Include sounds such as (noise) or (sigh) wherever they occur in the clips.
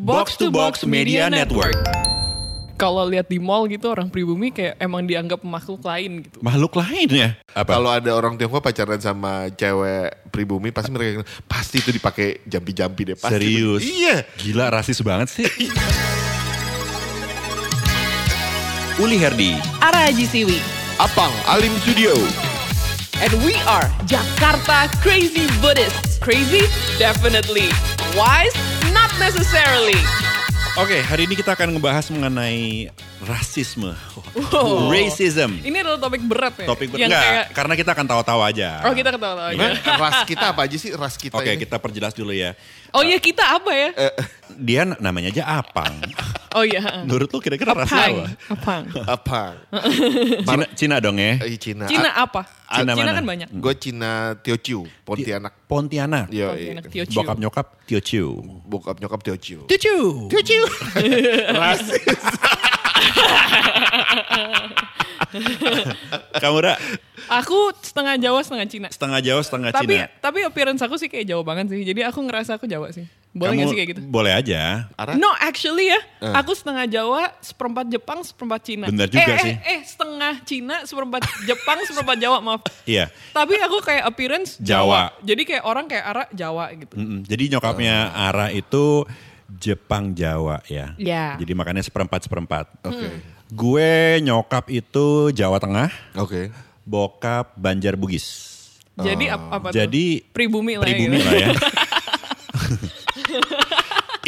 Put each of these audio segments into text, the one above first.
Box to Box Media Network. Kalau lihat di mall gitu orang pribumi kayak emang dianggap makhluk lain gitu. Makhluk lain ya? Apa? Kalau ada orang Tionghoa pacaran sama cewek pribumi pasti mereka pasti itu dipakai jampi-jampi deh pasti. Serius? Iya. Gila rasis banget sih. Uli Herdi, Ara Haji Siwi. Apang Alim Studio. And we are Jakarta Crazy Buddhists. Crazy? Definitely. Wise? Not necessarily. Oke, hari ini kita akan ngebahas mengenai rasisme. Wow. Racism. Ini adalah topik berat ya? Topik ber- Yang Enggak, kayak, karena kita akan tawa-tawa aja. oh kita ketawa aja. Emang ras kita apa aja sih ras kita Iya. Oke, ini? kita perjelas dulu ya. Oh iya kita apa ya? Eh, Dia na- namanya aja (laughs) Apang. Oh iya. Menurut lu kira-kira ras apa? Apang. (laughs) Apang. Apa? Cina, Cina dong ya? Iya, Eh, Cina. Cina apa? Cina mana? kan banyak. Gue Cina Teochew, Pontianak. Pontianak. Yo, Pontianak, Iya, Teochew. iya. Bokap nyokap Teochew. bokap nyokap Teochew. Teochew. Teochew. Rasis. (laughs) Kamu Ra, Aku setengah Jawa setengah Cina. setengah Jawa setengah Tapi Cina. tapi appearance aku sih kayak Jawa banget sih. Jadi aku ngerasa aku Jawa sih. Boleh Kamu nggak sih kayak gitu? Boleh aja. Ara? No, actually ya, aku setengah Jawa, seperempat Jepang, seperempat Cina. Bener juga eh, sih. Eh, eh, setengah Cina, seperempat Jepang, seperempat Jawa, maaf. (laughs) Iya. Tapi aku kayak appearance Jawa. Jawa. Jadi kayak orang kayak arah Jawa gitu. Mm-mm. Jadi nyokapnya Oh. Ara itu Jepang Jawa ya. Iya. Jadi makanya seperempat seperempat. Hmm. Oke. Gue nyokap itu Jawa Tengah, Oke. bokap Banjar Bugis. Jadi ap- apa tuh? Oh. Jadi pribumi lah pribumi ya. lah (laughs) ya.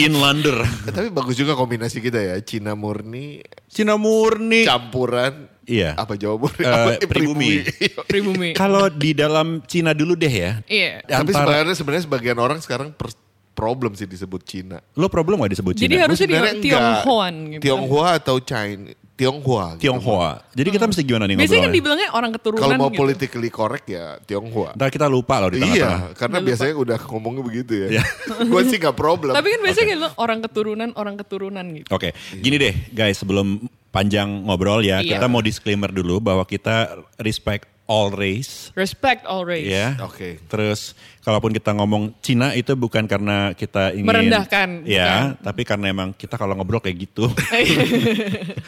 Inlander. Eh, Tapi bagus juga kombinasi kita ya. Cina murni, Cina murni. campuran. Iya. Apa Jawa murni? Eh, Apa? Eh, pribumi. Pribumi. Kalau di dalam Cina dulu deh ya. Iya. Tapi Antara- sebenarnya sebenarnya sebagian orang sekarang per- problem sih disebut Cina. Lo problem gak disebut Jadi Cina? harus- Terus dia Sebenarnya di- enggak. Tionghoan gitu. Tionghoa atau China? Tionghoa. gitu. Tionghoa. Jadi kita mesti gimana nih Biasanya kan ngobrolnya? dibilangnya orang keturunan Kalau mau gitu. politically correct ya Tionghoa. Ntar kita lupa loh di tengah-tengah. Iya. Iya, karena Nggak biasanya udah ngomongnya begitu (laughs) ya. Gue sih gak problem. Tapi kan biasanya kayak lo orang keturunan, orang keturunan gitu. Oke, gini deh guys sebelum panjang ngobrol ya, Iya. kita mau disclaimer dulu bahwa kita respect all race. Respect all race. Ya, Oke. Terus, kalaupun kita ngomong Cina itu bukan karena kita ingin Merendahkan, ya, tapi karena emang kita kalau ngobrol kayak gitu, (laughs)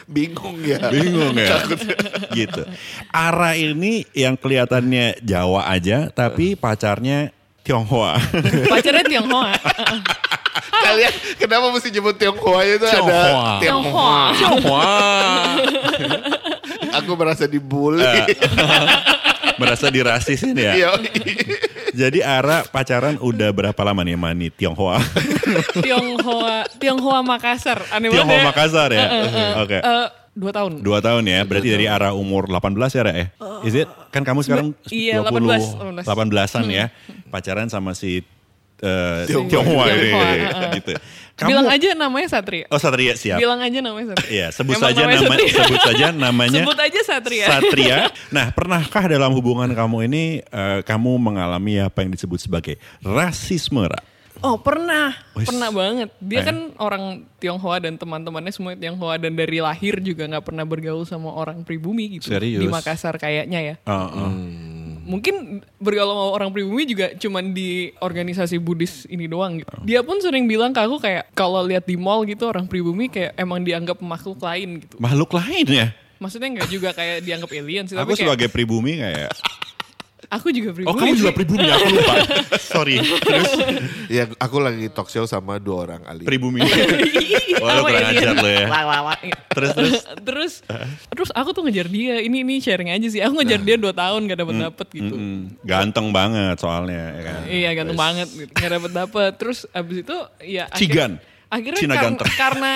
Bingung ya. bingung ya, (laughs) gitu. Ara ini yang kelihatannya Jawa aja, Eh. tapi pacarnya (laughs) Tionghoa. (laughs) Pacarnya Tionghoa. (laughs) Kalian kenapa mesti nyebut Tionghoa itu (laughs) ada Tionghoa. Tionghoa. Tionghoa. Wah, Aku merasa dibully. Eh. (laughs) merasa dirasisin ya. Iya. (laughs) Jadi Ara pacaran udah berapa lama nih Mani Tionghoa? Tionghoa, Tionghoa Makassar. Aneh banget Tionghoa ya. Makassar ya. Oke. Eh, dua tahun. Dua tahun ya, berarti dari arah umur 18 ya, Ra, ya? Is it? Kan kamu sekarang Oh. Iya, 20, 18. 18-an ya, pacaran sama si eh, Tionghoa. Tionghoa ini, Hmm. Tionghoa, gitu. Kamu, Bilang aja namanya Satria. oh Satria siap. Bilang aja namanya Satria. Iya, sebut Emang saja namanya nama, Satria. sebut saja namanya Sebut aja Satria. (laughs) Satria. Nah, pernahkah dalam hubungan kamu ini eh, kamu mengalami apa yang disebut sebagai rasisme, Ra? Oh pernah, Wes. pernah banget. Dia Eh. kan orang Tionghoa dan teman-temannya semua Tionghoa dan dari lahir juga nggak pernah bergaul sama orang pribumi gitu Serius? di Makassar kayaknya ya. Heeh. Mungkin bergaul sama orang pribumi juga cuman di organisasi Buddhis ini doang. Gitu. Oh. Dia pun sering bilang ke aku kayak kalau lihat di mall gitu orang pribumi kayak emang dianggap makhluk lain gitu. Makhluk lain ya? Maksudnya nggak juga kayak dianggap alien sih. Aku tapi kayak, sebagai pribumi kayak Aku juga pribumi. Oh kamu juga (laughs) sih. pribumi aku lupa. (laughs) Sorry. Terus ya aku lagi talk show sama dua orang (laughs) Ali. pribumi. Wah, lu Apa kurang ya dia? ajar lo ya. Wah, wah, wah. Terus terus (laughs) terus terus aku tuh ngejar dia. Ini ini sharing aja sih. Aku ngejar dia 2 tahun gak dapet dapet gitu. Nah. Hmm, ganteng banget soalnya ya kan. Iya ganteng banget gitu. Gak dapet dapet. Terus abis itu ya akhir- Cigan. Akhirnya Cina kar- ganteng. (laughs) karena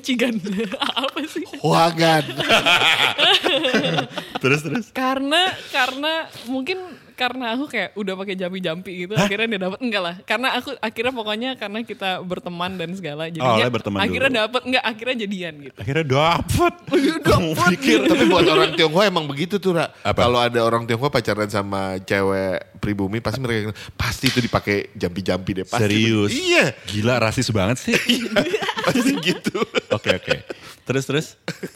cigan (laughs) apa sih? Wagan. Terus terus. Karena karena mungkin karena aku kayak udah pakai jampi-jampi gitu akhirnya dia dapat enggak lah karena aku akhirnya pokoknya karena kita berteman dan segala jadinya awalnya Oh, berteman akhirnya dulu. dapat enggak akhirnya jadian gitu (laughs) Akhirnya Oh, iya, dapet. Kamu pikir. Tapi buat orang Tionghoa emang begitu tuh, Ra. Apa? Kalau ada orang Tionghoa pacaran sama cewek pribumi, pasti mereka pasti itu dipakai jampi-jampi deh. Pasti. Serius. Iya. Gila rasis banget (laughs) sih. Pasti gitu. Oke oke. Terus terus.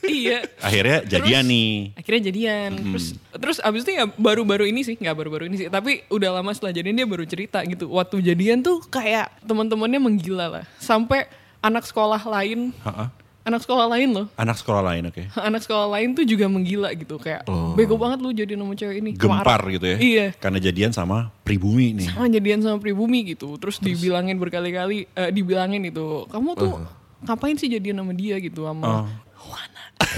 iya Akhirnya jadian Terus- nih. akhirnya jadian Hmm. terus terus abis itu ya baru-baru ini sih nggak baru-baru ini sih tapi udah lama setelah jadian dia baru cerita gitu waktu jadian tuh kayak teman-temannya menggila lah sampai anak sekolah lain, Ha-ha. anak sekolah lain loh. Anak sekolah lain oke. Anak sekolah lain tuh juga menggila gitu kayak bego banget lu jadi nama cewek ini. Sama Oh. Gempar Arab. gitu ya. Iya. Karena jadian sama pribumi nih. Sama (clears throat) jadian sama pribumi gitu. Terus, dibilangin berkali-kali eh, dibilangin itu, kamu tuh Uh-huh. ngapain sih jadian sama dia gitu sama Juana. Oh.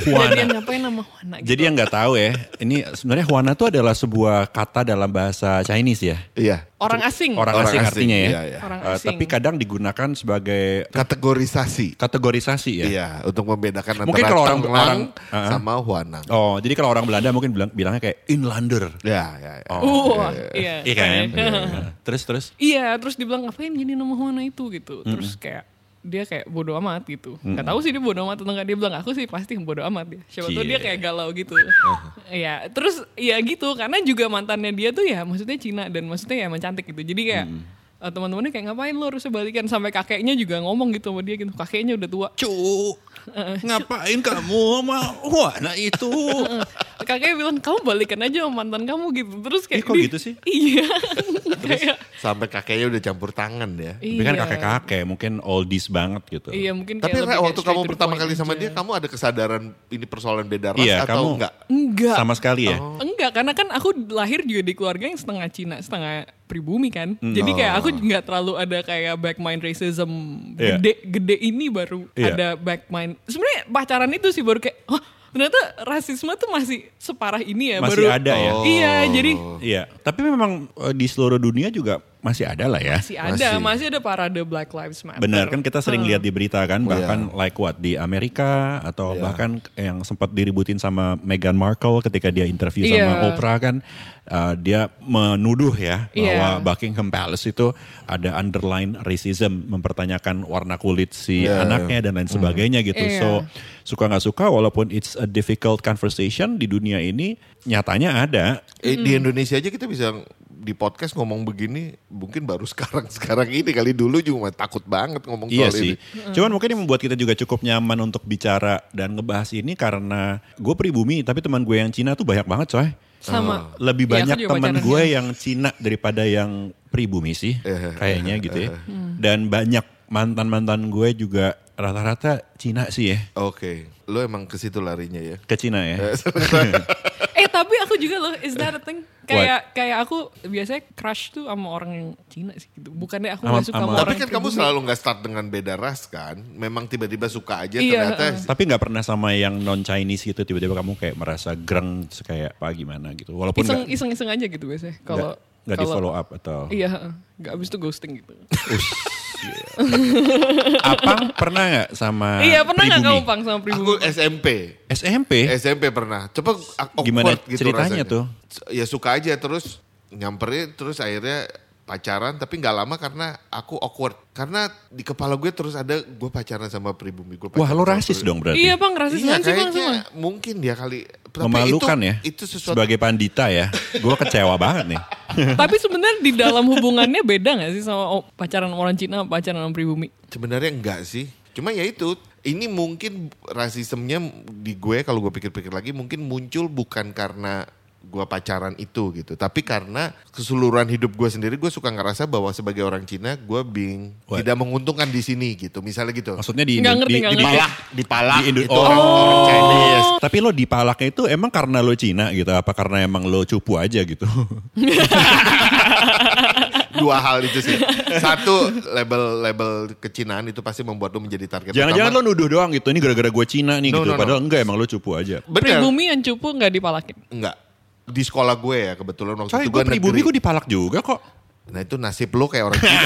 Juana. Jadian ngapain sama Juana gitu. Jadi yang nggak tahu ya, ini sebenarnya Huana tuh adalah sebuah kata dalam bahasa Chinese ya. Iya. orang asing. Oh, Orang, Orang asing, asing, artinya ya. iya, iya. Hmm. Orang Eh, asing. tapi kadang digunakan sebagai Kategorisasi. kategorisasi ya. Iya, untuk membedakan Mungkin antara kalau orang- Tenglang orang- Uh-huh. sama Huanang. Oh, jadi kalau orang Belanda mungkin bilang bilangnya kayak inlander. Ya, ya, ya. Oh. Wah, iya. Iya kan? terus terus Iya, terus dibilang ngapain jadi nama Juana itu gitu. Terus kayak dia kayak bodo amat gitu. Nggak tahu sih dia bodo amat atau enggak. Dia bilang aku sih pasti bodo amat ya. Siapa tahu dia Cie. kayak galau gitu. Iya, terus ya gitu karena juga mantannya dia tuh ya maksudnya Cina dan maksudnya ya emang cantik gitu. Jadi kayak eh, teman-temannya kayak ngapain lo harusnya balikan sampai kakeknya juga ngomong gitu sama dia gitu. Kakeknya udah tua. Cu, ngapain kamu sama Huana (laughs) itu? Kakeknya bilang kamu balikan aja sama mantan kamu gitu. Terus kayak Ih, kok dia- gitu sih? (laughs) Iya. Kayak- Sampai kakeknya udah campur tangan ya. Tapi kan iya. kakek-kakek mungkin oldies banget gitu. Iya mungkin Tapi kayak Ra, lebih waktu kayak kamu straight to the pertama point kali sama aja. dia, kamu ada kesadaran ini persoalan beda ras Iya, atau kamu- enggak? Enggak. Sama sekali ya. Enggak, karena kan aku lahir juga di keluarga yang setengah Cina, setengah pribumi kan. Jadi kayak aku nggak terlalu ada kayak backmind racism Hmm. Iya. gede gede ini baru Iya. ada backmind. Sebenarnya pacaran itu sih baru kayak, "Hah, ternyata rasisme tuh masih separah ini ya Masih baru. ada ya? Iya, jadi Iya, tapi memang eh, di seluruh dunia juga masih ada lah ya. masih ada, Masih. masih, ada parade Black Lives Matter. Benar kan kita Hmm. sering lihat di berita kan bahkan like what di Amerika atau bahkan yang sempat diributin sama Meghan Markle ketika dia interview sama Iya. Oprah kan uh, dia menuduh ya bahwa Iya. Buckingham Palace itu ada underline racism mempertanyakan warna kulit si anaknya dan lain sebagainya gitu. Iya. So suka nggak suka walaupun it's a difficult conversation di dunia ini nyatanya ada Eh, Di Indonesia aja kita bisa di podcast ngomong begini mungkin baru (laughs) sekarang sekarang ini kali dulu juga takut banget ngomong Iya soal sih. ini. Cuman mungkin yang membuat kita juga cukup nyaman untuk bicara dan ngebahas ini karena gue pribumi tapi teman gue yang Cina tuh banyak banget coy. Sama. Oh. Lebih Iya, aku banyak juga teman pacaran gue Cina. yang Cina daripada yang pribumi sih Eh, kayaknya gitu ya. Hmm. Dan banyak mantan-mantan gue juga rata-rata Cina sih ya. Oke, lo emang ke situ larinya ya. Ke Cina ya. (laughs) Eh tapi aku juga loh, is that a thing? (laughs) Kayak kayak aku biasanya crush tuh sama orang yang Cina sih gitu. Bukannya aku Sama- nggak suka sama- sama, Tapi orang Tapi kan kamu pribumi. selalu nggak start dengan beda ras kan? Memang tiba-tiba suka aja Iya, ternyata Tapi nggak pernah sama yang non Chinese gitu tiba-tiba kamu kayak merasa greng terus kayak apa gimana gitu. Walaupun iseng nggak iseng iseng aja gitu biasanya nggak kalau nggak di kalau- follow Nah, up atau iya heeh. nggak abis itu ghosting gitu apa pernah nggak sama iya pernah nggak kamu pribumi? pang sama aku pribumi SMP. SMP SMP pernah. Coba awkward Eh? Gimana gitu ceritanya rasanya. tuh? Ya suka aja terus nyamperin terus akhirnya pacaran tapi nggak lama karena aku awkward karena di kepala gue terus ada gue pacaran sama pribumi gue Wah pacaran lo sama rasis pribumi. dong berarti. iya pang rasis banget iya sih bang kayaknya sama mungkin dia kali Tapi Memalukan itu, ya. itu sesuatu Sebagai pandita ya. Gue kecewa banget nih. tapi sebenarnya di dalam hubungannya beda nggak sih sama oh, pacaran sama orang Cina pacaran sama pribumi Sebenarnya enggak sih. Cuma ya itu, ini mungkin rasismenya di gue kalau gue pikir-pikir lagi mungkin muncul bukan karena gue pacaran itu gitu. Tapi karena keseluruhan hidup gue sendiri gue suka ngerasa bahwa sebagai orang Cina gue bing What? tidak menguntungkan di sini gitu. Misalnya gitu. Maksudnya di Nggak ngerti, di, nggak di ngerti. palak. dipalak Di Indo- gitu Oh. orang, orang Chinese. Tapi lo di palaknya itu emang karena lo Cina gitu apa karena emang lo cupu aja gitu. Dua hal itu sih. Satu label-label kecinaan itu pasti membuat lu menjadi target Jangan-jangan lo nuduh doang gitu ini gara-gara gue Cina nih No, gitu no, no. padahal enggak emang lo cupu aja. Bener. pribumi yang cupu nggak dipalakin Enggak. Di sekolah gue ya kebetulan waktu Coy itu gue gue pribumi negeri. gue dipalak juga kok. Nah itu nasib lo kayak orang (laughs) Cina.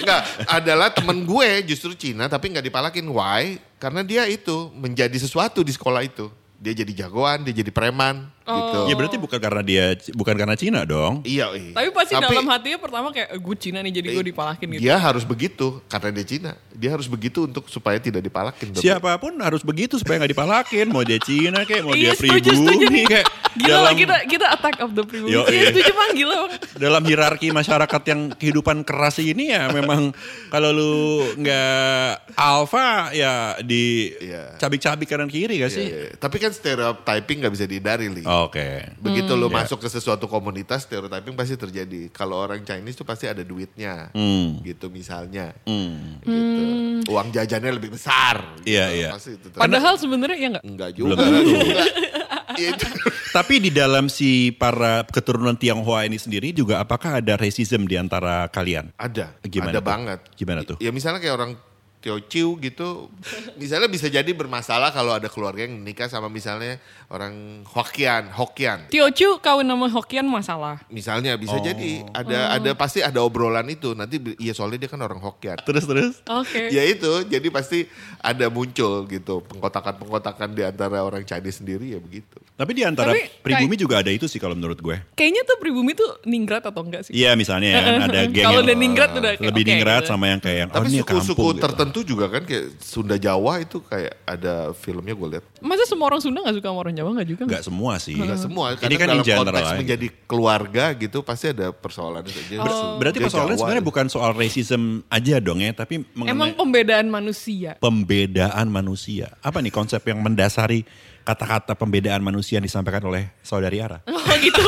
Enggak, adalah temen gue justru Cina tapi nggak dipalakin. Why? Karena dia itu menjadi sesuatu di sekolah itu. Dia jadi jagoan, dia jadi preman Oh. gitu. Ya berarti bukan karena dia bukan karena Cina dong. Iya, iya. tapi pasti dalam hatinya pertama kayak "Eh, gue Cina nih jadi gue Iya. dipalakin gitu Dia harus begitu karena dia Cina. Dia harus begitu untuk supaya tidak dipalakin. Tapi- Siapapun harus begitu supaya nggak dipalakin. Mau dia Cina kayak mau dia Iya, setuju, setuju nih. pribumi kayak Gila lah, dalam kita, kita attack of the pribumi. Yo, iya. Iya, setuju bang, gila bang. dalam hierarki masyarakat yang kehidupan keras ini ya memang kalau lu nggak alfa ya di Iya. cabik-cabik kanan kiri gak sih? Iya, iya. Tapi kan stereotyping nggak bisa dihindari, Li. Oh, Oke. Begitu lo Hmm. masuk ke sesuatu komunitas, stereotyping pasti terjadi. Kalau orang Chinese tuh pasti ada duitnya, Hmm. gitu misalnya, Hmm. gitu. Uang jajannya lebih besar. gitu. Iya, iya. Pasti itu ter- Padahal sebenarnya ya nggak. enggak juga. Belum. juga. (laughs) Iya, itu. Tapi di dalam si para keturunan Tionghoa ini sendiri juga apakah ada racism di antara kalian? Ada, Gimana ada tuh? banget. Gimana tuh? Ya misalnya kayak orang Teociu gitu, misalnya bisa jadi bermasalah kalau ada keluarga yang nikah sama misalnya orang Hokian, Hokian. Tiocu kawin nama Hokian masalah. Misalnya bisa jadi Oh. ada ada pasti ada obrolan itu nanti bi- iya soalnya dia kan orang Hokian. Terus terus. Oke. Ya itu, jadi pasti ada muncul gitu pengkotakan-pengkotakan di antara orang Chinese sendiri ya begitu. Tapi di antara Tapi kayak- pribumi juga ada itu sih kalau menurut gue. Kayaknya tuh pribumi tuh ningrat atau enggak sih? Iya misalnya ya kan ada geng Kalau yang udah ningrat udah kayak, lebih oke, ningrat gitu. sama yang kayak yang, oh Tapi ini suku-suku kampung gitu. tertentu juga kan kayak Sunda Jawa itu kayak ada filmnya gue lihat. Masa semua orang Sunda nggak suka sama orang Jawa nggak juga? Nggak semua sih. Enggak semua, Ini karena kan in dalam general konteks aja. menjadi keluarga gitu pasti ada persoalan saja. Oh. gitu. Berarti persoalannya sebenarnya bukan soal racism aja dong ya, tapi Emang mengenai pembedaan manusia. (laughs) pembedaan manusia. Apa nih konsep yang mendasari kata-kata pembedaan manusia yang disampaikan oleh saudari Ara? Oh gitu.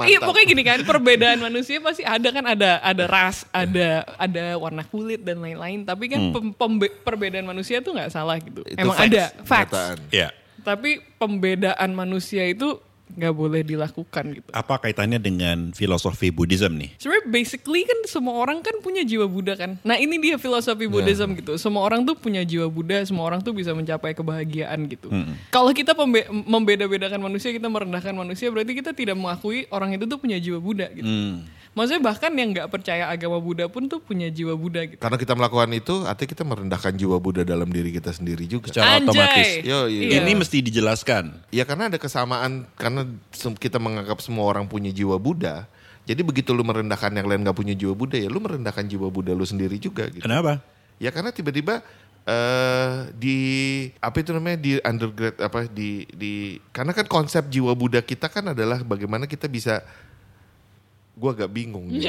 Iya pokoknya gini kan perbedaan manusia pasti ada kan ada ada ras ada ada warna kulit dan lain-lain tapi Hmm. kan pem- pembe- perbedaan manusia tuh nggak salah gitu emang ada facts Ya. tapi pembedaan manusia itu nggak boleh dilakukan gitu Apa kaitannya dengan filosofi Buddhism nih? sebenarnya basically kan semua orang kan punya jiwa Buddha kan nah ini dia filosofi Ya. Buddhism gitu semua orang tuh punya jiwa Buddha semua orang tuh bisa mencapai kebahagiaan gitu kalau kita pembe- membeda-bedakan manusia kita merendahkan manusia berarti kita tidak mengakui orang itu tuh punya jiwa Buddha gitu Mm. maksudnya bahkan yang nggak percaya agama Buddha pun tuh punya jiwa Buddha gitu Karena kita melakukan itu, artinya kita merendahkan jiwa Buddha dalam diri kita sendiri juga. Secara Anjay. otomatis. Yo, yo. Iya. Ini mesti dijelaskan. Ya karena ada kesamaan, karena sem- kita menganggap semua orang punya jiwa Buddha. Jadi begitu lu merendahkan yang lain gak punya jiwa Buddha, ya lu merendahkan jiwa Buddha lu sendiri juga gitu. Kenapa? Ya karena tiba-tiba eh di apa itu namanya di undergrad apa di di karena kan konsep jiwa Buddha kita kan adalah bagaimana kita bisa gua agak bingung nih.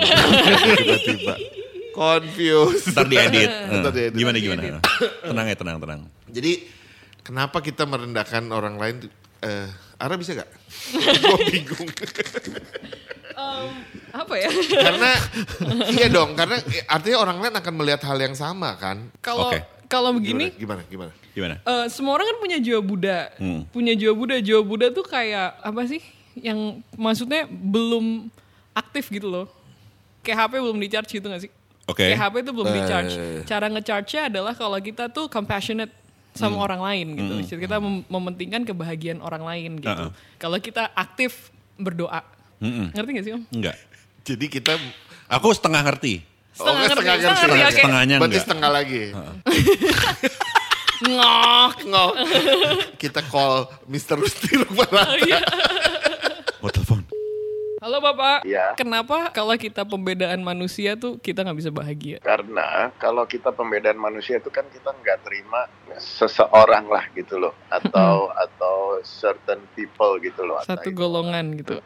tiba-tiba confused. Ntar diedit. (laughs) Hmm. Ntar diedit. Gimana gimana? Tenang ya tenang tenang. Jadi kenapa kita merendahkan orang lain? Eh, Ara bisa gak? Gue bingung. apa ya (laughs) karena iya dong, karena artinya orang lain akan melihat hal yang sama kan? kalau Oke. kalau begini Gimana? Gimana? gimana? Gimana? Eh, semua orang kan punya jiwa Buddha. Punya jiwa Buddha. Jiwa Buddha tuh kayak apa sih? Yang maksudnya belum aktif gitu loh. Kayak HP belum di-charge gitu gak sih? Oke. Kayak HP itu belum di-charge. Cara nge-charge-nya adalah kalau kita tuh compassionate sama orang lain gitu. Jadi Kita mem- mementingkan kebahagiaan orang lain gitu. Uh-uh. Kalau kita aktif berdoa. Ngerti gak sih Om? Enggak. Jadi kita oh, Aku setengah ngerti. Setengah nggak, ngerti, setengah setengah ngerti, ngerti, oke. Setengahnya Berarti enggak. setengah lagi. Ngok. Ngok. Kita call Mr. Rusti Rukmana. Iya. Mau Oh, telepon. Halo Bapak. Iya. Kenapa kalau kita pembedaan manusia tuh kita nggak bisa bahagia? Karena kalau kita pembedaan manusia itu kan kita nggak terima seseorang lah gitu loh, atau atau certain people gitu loh, Satu atau golongan gitu.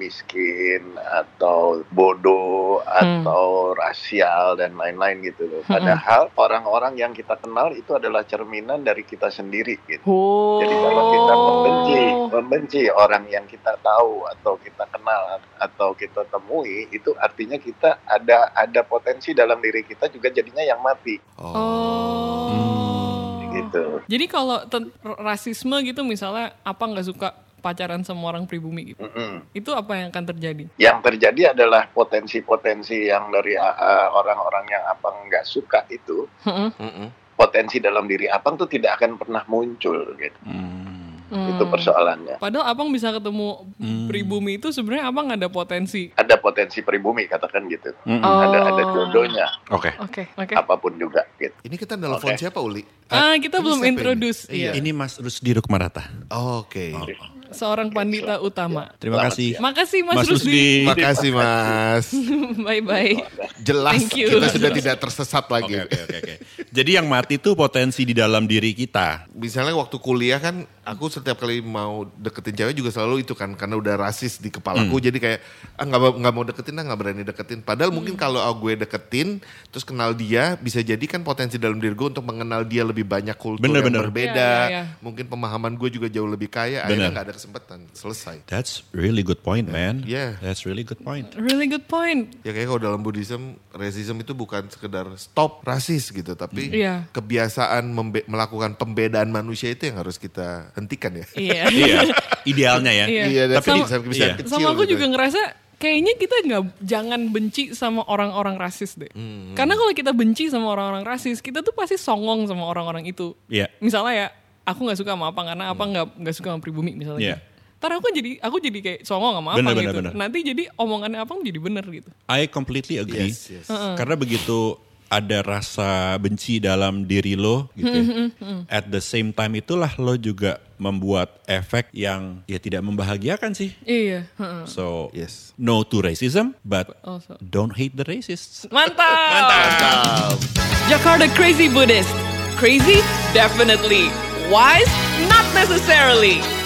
miskin, atau bodoh, atau rasial dan lain-lain gitu loh. Padahal orang-orang yang kita kenal itu adalah cerminan dari kita sendiri gitu. Oh. Jadi kalau kita membenci, membenci orang yang kita tahu atau kita kenal atau kita temui, itu artinya kita ada ada potensi dalam diri kita juga jadinya yang mati Oh. gitu. Jadi kalau ten- rasisme gitu misalnya apa nggak suka pacaran sama orang pribumi gitu. Mm-mm. Itu apa yang akan terjadi? Yang terjadi adalah potensi-potensi yang dari uh, orang-orang yang abang nggak suka itu, Mm-mm. potensi dalam diri abang tuh tidak akan pernah muncul gitu. Hmm. Itu persoalannya. Padahal Abang bisa ketemu pribumi itu sebenarnya Abang ada potensi. Ada potensi pribumi katakan gitu. Hmm. Oh. Ada ada jodohnya Oke. Oke, oke. apapun juga gitu. Ini kita nelfon Oke. siapa Uli? Eh, Ah, kita Ini belum siapa ini? introduce. Iya. Iya. Ini Mas Rusdi Rukmarata. Oke. Seorang pandita utama. Terima Selamat kasih. Makasih Mas, Rusdi. Terima kasih Mas. (laughs) Bye-bye. Jelas Thank you. kita sudah tidak tersesat lagi. Oke oke oke. oke. Jadi yang mati itu potensi di dalam diri kita. Misalnya waktu kuliah kan aku setiap kali mau deketin cewek juga selalu itu kan karena udah rasis di Hmm. kepalaku jadi kayak ah nggak mau- nggak mau deketin ah nggak berani deketin. Hmm. Padahal mungkin kalau ah, gue deketin terus kenal dia bisa jadi kan potensi dalam diri gue untuk mengenal dia lebih banyak kultur Bener, yang bener. berbeda. Iya, iya, Mungkin pemahaman gue juga jauh lebih kaya. Akhirnya Bener. nggak ada kesempatan. Selesai. That's really good point, man. Yeah. That's really good point. Really good point. Ya kayak kalau dalam Buddhism, racism itu bukan sekedar stop rasis gitu, tapi Iya. kebiasaan membe- melakukan pembedaan manusia itu yang harus kita hentikan ya. Iya. (laughs) Iya, idealnya ya. Iya. Iya, dan Sama- kebiasaan-kebiasaan iya. kecil. Sama aku gitu. juga ngerasa kayaknya kita nggak jangan benci sama orang-orang rasis deh. Hmm. Karena kalau kita benci sama orang-orang rasis, kita tuh pasti songong sama orang-orang itu. Iya. Hmm. Misalnya ya, aku nggak suka sama apa karena apa nggak nggak suka sama pribumi misalnya. Iya. gitu. Ntar aku jadi aku jadi kayak songong sama Bener, apa bener, gitu. bener. Nanti jadi omongannya apa jadi bener gitu. I completely agree. Yes, yes. Karena begitu ada rasa benci dalam diri lo gitu. ya. Mm-hmm, At the same time itulah lo juga membuat efek yang ya tidak membahagiakan sih. Iya. heeh. So, Yes. no to racism, but Also. don't hate the racists. Mantap. Ah, Jakarta Crazy Buddhist. Crazy, definitely. Wise, not necessarily.